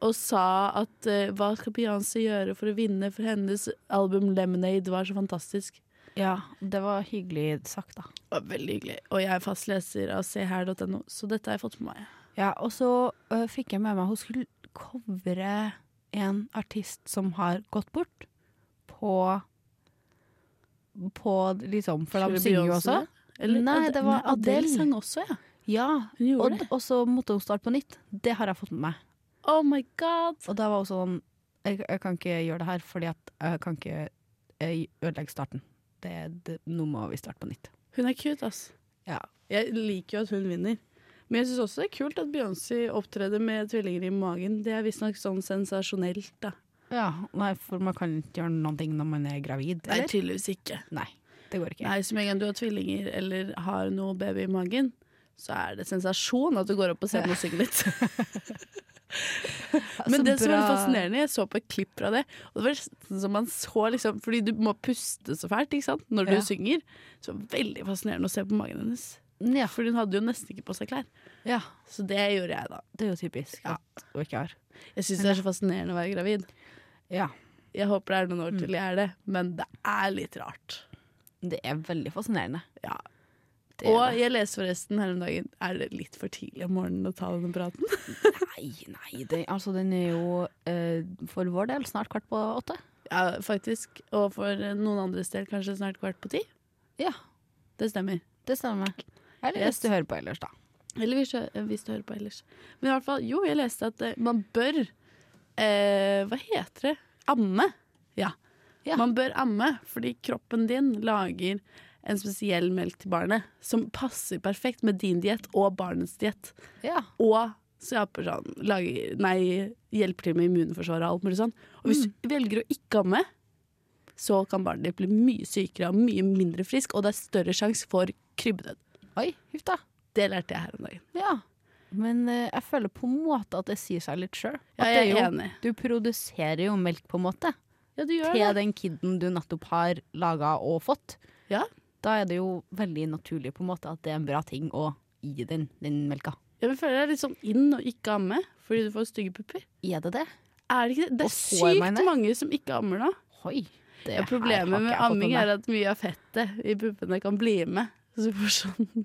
[SPEAKER 2] Og sa at eh, hva skal Beyoncé gjøre for å vinne, for hennes album 'Lemonade' var så fantastisk.
[SPEAKER 3] ja. Det var hyggelig sagt, da.
[SPEAKER 2] Det var veldig hyggelig. Og jeg er fast leser av seher.no, så dette har jeg fått med meg.
[SPEAKER 3] Ja, og så ø, fikk jeg med meg hun skulle covre en artist som har gått bort, på På liksom For de
[SPEAKER 2] Skulle
[SPEAKER 3] synger jo
[SPEAKER 2] Beyoncé
[SPEAKER 3] også.
[SPEAKER 2] det? Eller,
[SPEAKER 3] Nei,
[SPEAKER 2] Ade-
[SPEAKER 3] det var
[SPEAKER 2] nei, Adele
[SPEAKER 3] Adele.
[SPEAKER 2] sang også, ja.
[SPEAKER 3] Ja.
[SPEAKER 2] Hun gjorde
[SPEAKER 3] Og,
[SPEAKER 2] det.
[SPEAKER 3] og så måtte hun starte på nytt. Det har jeg fått med meg.
[SPEAKER 2] Oh my god.
[SPEAKER 3] Og da var hun sånn jeg, jeg kan ikke gjøre det her, fordi at jeg kan ikke jeg ødelegge starten. Det, det, nå må vi starte på nytt.
[SPEAKER 2] Hun er cute, ass.
[SPEAKER 3] Ja.
[SPEAKER 2] Jeg liker jo at hun vinner. Men jeg syns også det er kult at Beyoncé opptreder med tvillinger i magen. Det er visstnok sånn sensasjonelt, da.
[SPEAKER 3] Ja, nei, for man kan ikke gjøre noen ting når man er gravid,
[SPEAKER 2] Nei,
[SPEAKER 3] eller?
[SPEAKER 2] tydeligvis ikke.
[SPEAKER 3] Nei, det går ikke.
[SPEAKER 2] Nei, Så med en gang du har tvillinger eller har noe baby i magen, så er det sensasjon at du går opp på scenen og synger litt. Men det som er litt fascinerende, jeg så på et klipp fra det, og det var nesten som man så liksom Fordi du må puste så fælt ikke sant? når du
[SPEAKER 3] Ja.
[SPEAKER 2] synger. Så det var veldig fascinerende å se på magen hennes.
[SPEAKER 3] Ja,
[SPEAKER 2] Fordi hun hadde jo nesten ikke på seg klær.
[SPEAKER 3] ja,
[SPEAKER 2] Så det gjorde jeg, da.
[SPEAKER 3] det er jo typisk
[SPEAKER 2] Ja.
[SPEAKER 3] at hun ikke har.
[SPEAKER 2] Jeg syns det er så fascinerende å være gravid.
[SPEAKER 3] Ja,
[SPEAKER 2] Jeg håper det er
[SPEAKER 3] Mm.
[SPEAKER 2] noen år til jeg er det, men det er litt rart.
[SPEAKER 3] det er veldig fascinerende.
[SPEAKER 2] Ja.
[SPEAKER 3] Det
[SPEAKER 2] Og
[SPEAKER 3] er det.
[SPEAKER 2] jeg leser forresten her om dagen Er det litt for tidlig om morgenen å ta denne praten?
[SPEAKER 3] Nei, nei, det, altså den er jo eh, for vår del snart kvart på åtte.
[SPEAKER 2] Ja, faktisk. Og for noen andres del kanskje snart kvart på ti.
[SPEAKER 3] Ja,
[SPEAKER 2] Det stemmer.
[SPEAKER 3] det stemmer. Eller
[SPEAKER 2] Yes.
[SPEAKER 3] hvis du hører på ellers da.
[SPEAKER 2] Eller hvis, jeg- hvis du hører på ellers. Men i hvert fall, jo, jeg leste at eh, man bør eh, Hva heter det? Amme. Ja.
[SPEAKER 3] Ja.
[SPEAKER 2] Man bør amme fordi kroppen din lager en spesiell melk til barnet som passer perfekt med din diett og barnets diett.
[SPEAKER 3] Ja,
[SPEAKER 2] Og skaper sånn lager, Nei, hjelper til med immunforsvaret og alt mulig sånn. Og hvis
[SPEAKER 3] Mm.
[SPEAKER 2] du velger å ikke amme, så kan barnet ditt bli mye sykere og mye mindre frisk, og det er større sjanse for krybbedød.
[SPEAKER 3] oi, huff da.
[SPEAKER 2] Det lærte jeg her om dagen.
[SPEAKER 3] Ja. Men eh, jeg føler på en måte at det sier seg litt sjøl.
[SPEAKER 2] Ja, jeg er enig.
[SPEAKER 3] Du produserer jo melk, på en måte,
[SPEAKER 2] Ja, du
[SPEAKER 3] til den kiden du nettopp har laga og fått.
[SPEAKER 2] Ja.
[SPEAKER 3] Da er det jo veldig naturlig på en måte at det er en bra ting å gi den, den melka.
[SPEAKER 2] Jeg føler det er litt sånn inn å ikke amme fordi du får stygge pupper.
[SPEAKER 3] Er det det?
[SPEAKER 2] Er det ikke det?
[SPEAKER 3] Og
[SPEAKER 2] Det er
[SPEAKER 3] får man
[SPEAKER 2] sykt
[SPEAKER 3] det?
[SPEAKER 2] mange som ikke ammer nå.
[SPEAKER 3] Hoi. Det
[SPEAKER 2] Ja, problemet med amming er at mye av fettet i puppene kan bli med. Så du får sånn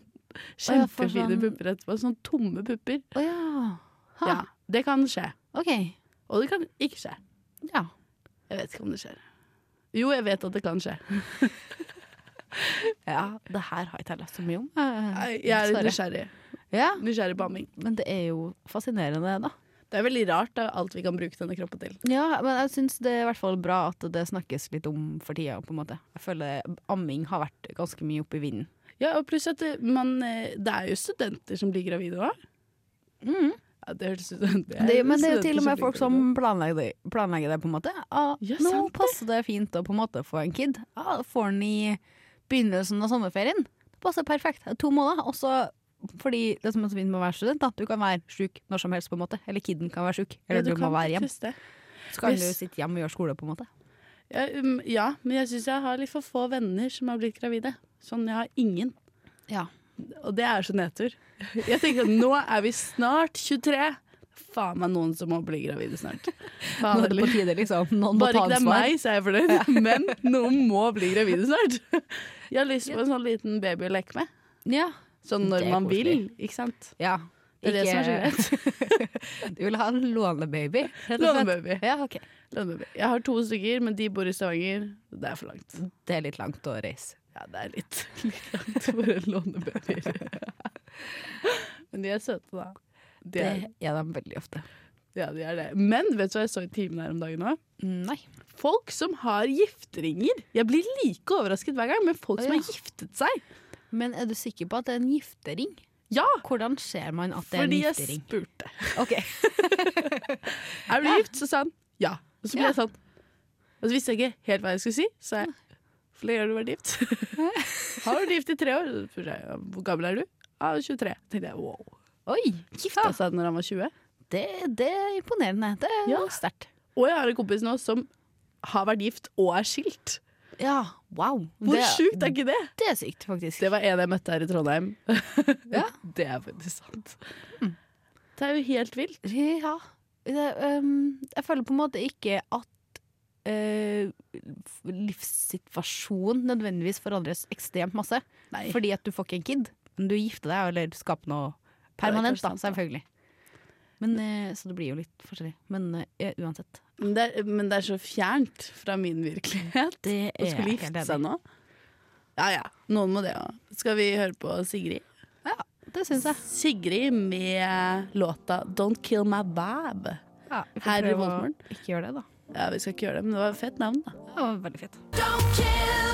[SPEAKER 3] ja, for
[SPEAKER 2] kjempefine
[SPEAKER 3] sånn-
[SPEAKER 2] pupper etterpå. Sånn tomme pupper.
[SPEAKER 3] Å ja. Ha.
[SPEAKER 2] Ja, det kan skje.
[SPEAKER 3] OK.
[SPEAKER 2] Og det kan ikke skje.
[SPEAKER 3] Ja.
[SPEAKER 2] Jeg vet ikke om det skjer. Jo, jeg vet at det kan skje.
[SPEAKER 3] ja. Det her har ikke jeg lest så mye om. eh,
[SPEAKER 2] Jeg er litt
[SPEAKER 3] dessverre.
[SPEAKER 2] nysgjerrig.
[SPEAKER 3] Ja,
[SPEAKER 2] Nysgjerrig på amming.
[SPEAKER 3] men det er jo fascinerende, da.
[SPEAKER 2] Det er veldig rart da, alt vi kan bruke denne kroppen til.
[SPEAKER 3] Ja, men jeg syns det er i hvert fall bra at det snakkes litt om for tida, på en måte. Jeg føler amming har vært ganske mye oppe i vinden.
[SPEAKER 2] Ja, og pluss at det, man, eh, det er jo studenter som blir gravide òg. Ja, det hørtes ut som det er
[SPEAKER 3] Mm. Det, men det er jo
[SPEAKER 2] studenter
[SPEAKER 3] til og med
[SPEAKER 2] blir
[SPEAKER 3] folk som
[SPEAKER 2] gravide.
[SPEAKER 3] planlegger det, planlegger det på en måte. Ah,
[SPEAKER 2] Ja,
[SPEAKER 3] nå
[SPEAKER 2] sant det.
[SPEAKER 3] passer det fint å på en måte få en kid. Ah, får den i begynnelsen av sommerferien. Det passer perfekt. To måneder. Og så fordi det som er så fint med å være student, da. Du kan være sjuk når som helst, på en måte. Eller kiden kan være sjuk. Eller
[SPEAKER 2] Ja,
[SPEAKER 3] du, må
[SPEAKER 2] kan
[SPEAKER 3] være hjemme.
[SPEAKER 2] faktisk det.
[SPEAKER 3] Så kan
[SPEAKER 2] Hvis-
[SPEAKER 3] du sitte hjemme og gjøre skole, på en måte.
[SPEAKER 2] Ja, um, ja, men jeg syns jeg har litt for få venner som har blitt gravide. Sånn, jeg har ingen.
[SPEAKER 3] Ja.
[SPEAKER 2] Og det er så nedtur. Jeg tenker at nå er vi snart 23. Faen meg noen som må bli gravide snart. Faen
[SPEAKER 3] Nå er det
[SPEAKER 2] heller.
[SPEAKER 3] på tide, liksom. Noen må
[SPEAKER 2] Bare
[SPEAKER 3] ta
[SPEAKER 2] ikke det er
[SPEAKER 3] ansvar.
[SPEAKER 2] meg, så er jeg fornøyd. Men noen må bli gravide snart. Jeg har lyst på en sånn liten baby å leke med.
[SPEAKER 3] Ja.
[SPEAKER 2] Sånn når
[SPEAKER 3] Det er
[SPEAKER 2] man vil,
[SPEAKER 3] koselig.
[SPEAKER 2] ikke sant.
[SPEAKER 3] Ja.
[SPEAKER 2] Det er det som er så
[SPEAKER 3] du vil ha en lånebaby? rett og slett.
[SPEAKER 2] Lånebaby.
[SPEAKER 3] Ja, ok.
[SPEAKER 2] Lønnebaby. Jeg har to stykker, men de bor i Stavanger. Det er for langt.
[SPEAKER 3] Det er litt langt å reise.
[SPEAKER 2] Ja, det er litt, litt langt for en lånebaby. Men de er søte, da. De
[SPEAKER 3] Det
[SPEAKER 2] er,
[SPEAKER 3] er de veldig ofte.
[SPEAKER 2] ja, de er det. Men vet du hva jeg så i timen her om dagen òg?
[SPEAKER 3] Nei.
[SPEAKER 2] Folk som har gifteringer. Jeg blir like overrasket hver gang, men folk
[SPEAKER 3] Å,
[SPEAKER 2] som
[SPEAKER 3] ja.
[SPEAKER 2] har giftet seg.
[SPEAKER 3] Men er du sikker på at det er en giftering?
[SPEAKER 2] Ja,
[SPEAKER 3] Hvordan ser man at det er en
[SPEAKER 2] fordi jeg
[SPEAKER 3] giftering?
[SPEAKER 2] spurte.
[SPEAKER 3] Ok.
[SPEAKER 2] Er du gift? Så sa han ja. Og så ble
[SPEAKER 3] Ja.
[SPEAKER 2] jeg sånn. Og så visste jeg ikke helt hva jeg skulle si, så jeg Flere har du vært gift? har du vært gift i tre år? Så spurte jeg, Hvor gammel er du? Ja, 23. tenkte jeg, wow.
[SPEAKER 3] Oi!
[SPEAKER 2] Gifta seg når han var 20.
[SPEAKER 3] Det, det er imponerende. Det er
[SPEAKER 2] Ja.
[SPEAKER 3] sterkt.
[SPEAKER 2] Og jeg har en kompis nå som har vært gift og er skilt.
[SPEAKER 3] Ja, wow.
[SPEAKER 2] Hvor
[SPEAKER 3] det,
[SPEAKER 2] sjukt er ikke det?
[SPEAKER 3] Det er sykt, faktisk.
[SPEAKER 2] Det var en jeg møtte her i Trondheim.
[SPEAKER 3] Ja.
[SPEAKER 2] Det er faktisk sant. Mm. Det er jo helt vilt.
[SPEAKER 3] Ja. Det, øhm, jeg føler på en måte ikke at øh, f- livssituasjonen nødvendigvis forandres ekstremt masse.
[SPEAKER 2] Nei.
[SPEAKER 3] Fordi at du får ikke en kid. Men du gifter deg eller skaper noe permanent,
[SPEAKER 2] kanskje
[SPEAKER 3] da,
[SPEAKER 2] sant, da.
[SPEAKER 3] selvfølgelig. Men, øh, så det blir jo litt forskjellig. Men øh, ja, uansett.
[SPEAKER 2] Men det, er, men det er så fjernt fra min virkelighet
[SPEAKER 3] Det
[SPEAKER 2] å
[SPEAKER 3] er
[SPEAKER 2] skulle
[SPEAKER 3] jeg helt
[SPEAKER 2] gifte
[SPEAKER 3] enig
[SPEAKER 2] seg nå. Ja ja, noen må det òg. Skal vi høre på Sigrid?
[SPEAKER 3] i. Det syns jeg.
[SPEAKER 2] Sigrid med låta 'Don't Kill My Vibe'.
[SPEAKER 3] Ja, vi får
[SPEAKER 2] Her i
[SPEAKER 3] prøve å
[SPEAKER 2] Voldemorgen.
[SPEAKER 3] Ikke gjør det, da.
[SPEAKER 2] Ja, Vi skal ikke gjøre det, men det var et fett navn, da.
[SPEAKER 3] Det var veldig fint.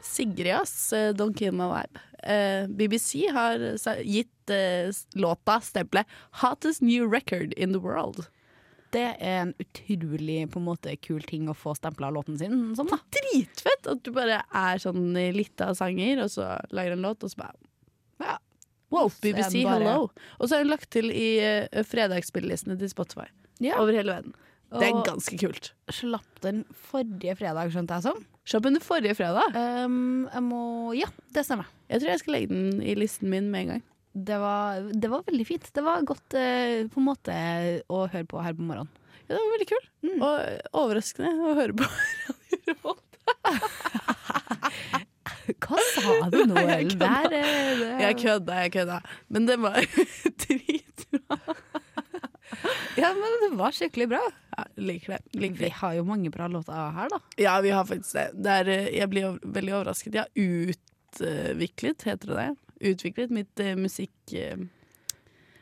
[SPEAKER 2] Sigrid, ass. eh, Don't kill my vibe. Eh, BBC har eh, sa- gitt eh, s- låta stempelet 'Hottest New Record in the World'.
[SPEAKER 3] Det er en utrolig på en måte, kul ting å få stempla låten sin som, da.
[SPEAKER 2] Dritfett at du bare er sånn eh, litt av sanger, og så lager en låt, og så bare
[SPEAKER 3] Ja.
[SPEAKER 2] Wow,
[SPEAKER 3] Så er den
[SPEAKER 2] BBC,
[SPEAKER 3] bare-
[SPEAKER 2] hello! Og så er hun lagt til i eh, fredagsspillelistene til Spotify
[SPEAKER 3] Ja.
[SPEAKER 2] over hele verden. Det er
[SPEAKER 3] Og-
[SPEAKER 2] ganske kult.
[SPEAKER 3] Slapp den forrige fredag, skjønte jeg som.
[SPEAKER 2] Slapp den forrige fredag.
[SPEAKER 3] Ehm, jeg må Ja, det stemmer.
[SPEAKER 2] Jeg tror jeg skal legge den i listen min med en gang.
[SPEAKER 3] Det var, det var veldig fint. Det var godt eh, på en måte å høre på her på morgenen.
[SPEAKER 2] Ja, det var veldig kul. Og eh, overraskende å høre på Radio Revolt.
[SPEAKER 3] Hva sa du nå,
[SPEAKER 2] Nei, jeg
[SPEAKER 3] Ellen? Der, eh, det-
[SPEAKER 2] Jeg kødda, jeg kødda. Men det var dritbra.
[SPEAKER 3] ja, men det var skikkelig bra.
[SPEAKER 2] Ja, liker det. Liker
[SPEAKER 3] Vi
[SPEAKER 2] det.
[SPEAKER 3] har jo mange bra låter her, da.
[SPEAKER 2] Ja, vi har faktisk det. det er, eh, jeg blir over- veldig overrasket. Jeg har utviklet, heter det det? Utviklet mitt eh, musikkrepertoar.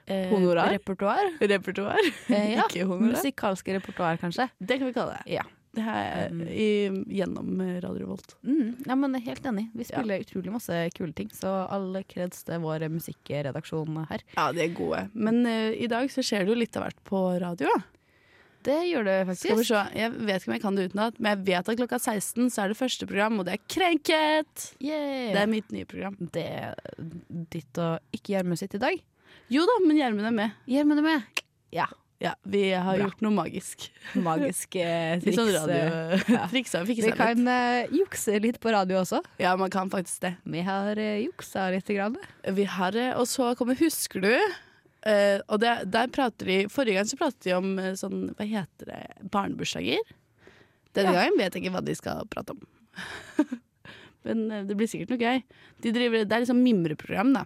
[SPEAKER 3] Eh,
[SPEAKER 2] Honorar?
[SPEAKER 3] Repertoar. Eh,
[SPEAKER 2] Eh,
[SPEAKER 3] ja.
[SPEAKER 2] Ikke honorar.
[SPEAKER 3] Musikalske repertoar, kanskje.
[SPEAKER 2] Det kan vi kalle det.
[SPEAKER 3] Ja.
[SPEAKER 2] Det her,
[SPEAKER 3] Mm.
[SPEAKER 2] i, gjennom eh, Radio Revolt.
[SPEAKER 3] Mm, ja, men jeg er helt enig. Vi spiller utrolig masse kule ting, så all kreds til vår musikkredaksjon her.
[SPEAKER 2] Ja, de er gode. Men eh, i dag så skjer det jo litt av hvert på radio. da.
[SPEAKER 3] Det gjør det faktisk.
[SPEAKER 2] Skal vi se. Jeg vet ikke om jeg kan det utenat, men jeg vet at klokka 16 så er det første program, og det er Krenket!
[SPEAKER 3] Yeah.
[SPEAKER 2] Det er mitt nye program.
[SPEAKER 3] det er ditt og ikke Gjermund sitt i dag.
[SPEAKER 2] Jo da, men Gjermund er med.
[SPEAKER 3] Gjermund er med.
[SPEAKER 2] Ja, vi har
[SPEAKER 3] Bra.
[SPEAKER 2] gjort noe magisk.
[SPEAKER 3] Magiske
[SPEAKER 2] Litt
[SPEAKER 3] triks.
[SPEAKER 2] sånn
[SPEAKER 3] eh,
[SPEAKER 2] radiotriksa og
[SPEAKER 3] Vi
[SPEAKER 2] fiksa
[SPEAKER 3] kan
[SPEAKER 2] litt.
[SPEAKER 3] eh, jukse litt på radio også.
[SPEAKER 2] Ja, man kan faktisk det.
[SPEAKER 3] Vi har eh, juksa litt. Grann.
[SPEAKER 2] Vi har, eh, Og så kommer Husker du? Eh, og det, der prater de Forrige gang så pratet de om eh, sånn, hva heter det, barnebursdager. Denne gangen vet jeg ikke hva de skal prate om. Men eh, det blir sikkert noe gøy. De driver, det er liksom mimreprogram, da.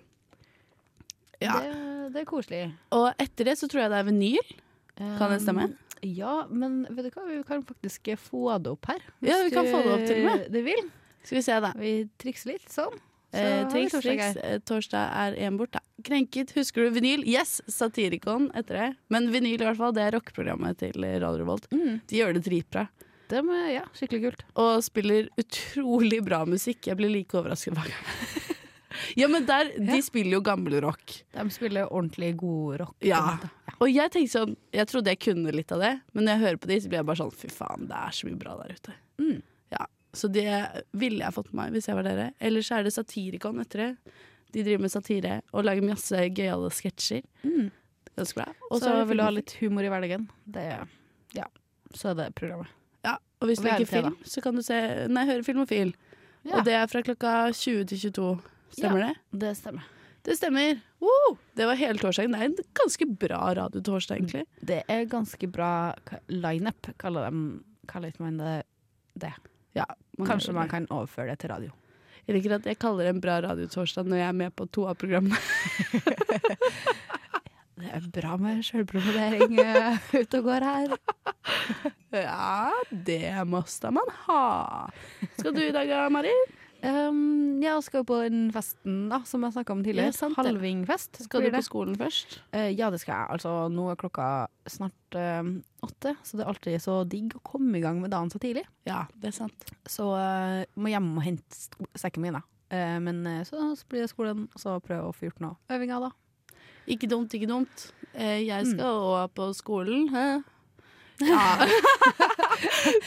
[SPEAKER 2] Ja.
[SPEAKER 3] Det, det er koselig.
[SPEAKER 2] Og etter det så tror jeg det er vinyl. Kan det stemme?
[SPEAKER 3] Eh, Ja, men vet du hva? vi kan faktisk eh, få det opp her.
[SPEAKER 2] Ja, vi kan få det opp til og med.
[SPEAKER 3] Hvis Du vil.
[SPEAKER 2] Skal vi se, da.
[SPEAKER 3] Vi trikser litt sånn. Så
[SPEAKER 2] Eh,
[SPEAKER 3] har vi
[SPEAKER 2] triks,
[SPEAKER 3] torsdag
[SPEAKER 2] triks.
[SPEAKER 3] her.
[SPEAKER 2] Eh, torsdag er én bort, da. Krenket, husker du vinyl? Yes! Satirikon etter det. Men vinyl, i hvert fall, det er rockeprogrammet til eh, Radio Revolt.
[SPEAKER 3] Mm.
[SPEAKER 2] De gjør det dritbra.
[SPEAKER 3] Det med, ja, skikkelig kult.
[SPEAKER 2] Og spiller utrolig bra musikk. Jeg blir like overrasket hver gang. ja, men der, de spiller jo gammelrock.
[SPEAKER 3] De spiller ordentlig god rock.
[SPEAKER 2] Ja. Og jeg tenkte sånn, jeg trodde jeg kunne litt av det, men når jeg hører på de, så blir jeg bare sånn fy faen, det er så mye bra der ute.
[SPEAKER 3] Mm.
[SPEAKER 2] Ja, Så det ville jeg fått med meg hvis jeg var dere. Ellers er det Satirikon etter det. De driver med satire og lager masse gøyale sketsjer.
[SPEAKER 3] Mm.
[SPEAKER 2] Ganske bra.
[SPEAKER 3] Og
[SPEAKER 2] Og
[SPEAKER 3] så vil du ha litt humor i hverdagen. Det, ja. Så er det programmet.
[SPEAKER 2] Ja, og hvis
[SPEAKER 3] Og
[SPEAKER 2] du liker
[SPEAKER 3] VRT,
[SPEAKER 2] film, så kan du se Nei, høre Filmofil.
[SPEAKER 3] Ja.
[SPEAKER 2] Og det er fra klokka 20 til 22. Stemmer det?
[SPEAKER 3] Det stemmer.
[SPEAKER 2] Det stemmer. Woo! Det var hele torsdagen. Det er en ganske bra radiotorsdag, egentlig.
[SPEAKER 3] Det er ganske bra ka- lineup, kaller, dem, kaller man det.
[SPEAKER 2] Ja,
[SPEAKER 3] Kanskje man kan overføre det til radio.
[SPEAKER 2] Jeg liker at jeg kaller det en bra radiotorsdag når jeg er med på to av programmene.
[SPEAKER 3] Det er bra med sjølpromovering eh, ute og går her.
[SPEAKER 2] Ja, det måste man ha. Skal du i dag, Mari?
[SPEAKER 3] Um, jeg skal jo på den festen da, som jeg snakka om
[SPEAKER 2] Ja,
[SPEAKER 3] tidligere.
[SPEAKER 2] sant det.
[SPEAKER 3] Halvingfest.
[SPEAKER 2] Skal
[SPEAKER 3] blir
[SPEAKER 2] du på
[SPEAKER 3] det.
[SPEAKER 2] skolen først?
[SPEAKER 3] Eh, ja, det skal jeg. Altså, nå er klokka snart eh, åtte, så det er alltid så digg å komme i gang med dagen så tidlig.
[SPEAKER 2] Ja, det er sant.
[SPEAKER 3] Så eh, må hjem og hente sko- sekken min, da. Eh, men eh, så, så blir det skolen, og så prøve å få gjort noe øvinger, da.
[SPEAKER 2] Ikke dumt, ikke dumt. Eh, Jeg skal også på skolen. Hæ? Ja.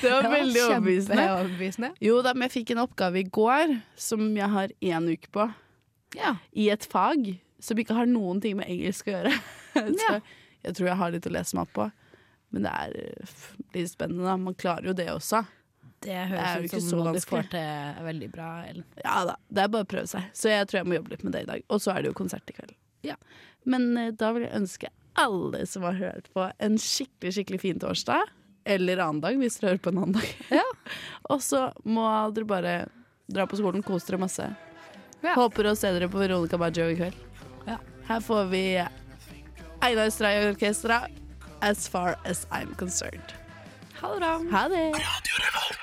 [SPEAKER 2] det var veldig overbevisende.
[SPEAKER 3] Kjempeoverbevisende.
[SPEAKER 2] Jo da, men jeg fikk en oppgave i går som jeg har én uke på.
[SPEAKER 3] Ja.
[SPEAKER 2] i et fag som ikke har noen ting med engelsk å gjøre. Så jeg tror jeg har litt å lese meg opp på. Men det er eh, f- litt spennende, da. Man klarer jo det også.
[SPEAKER 8] Det
[SPEAKER 2] er jo
[SPEAKER 8] høres ut
[SPEAKER 2] ikke så
[SPEAKER 8] som noe du
[SPEAKER 2] vanskelig.
[SPEAKER 8] får til veldig bra, Ellen.
[SPEAKER 2] Ja da, det er bare å prøve seg. Så jeg tror jeg må jobbe litt med det i dag. Og så er det jo konsert i kveld.
[SPEAKER 8] Ja.
[SPEAKER 2] Men eh, da vil jeg ønske alle som har hørt på, en skikkelig, skikkelig fin torsdag. Eller annen dag, hvis dere hører på en annen dag. og så må dere bare dra på skolen, kose dere masse.
[SPEAKER 8] Ja.
[SPEAKER 2] Håper å se dere på Veronica Baggio i kveld.
[SPEAKER 8] Ja.
[SPEAKER 2] Her får vi Einar Stray og Orkestra, As Far As I'm Concerned. Ha det bra. Ha det.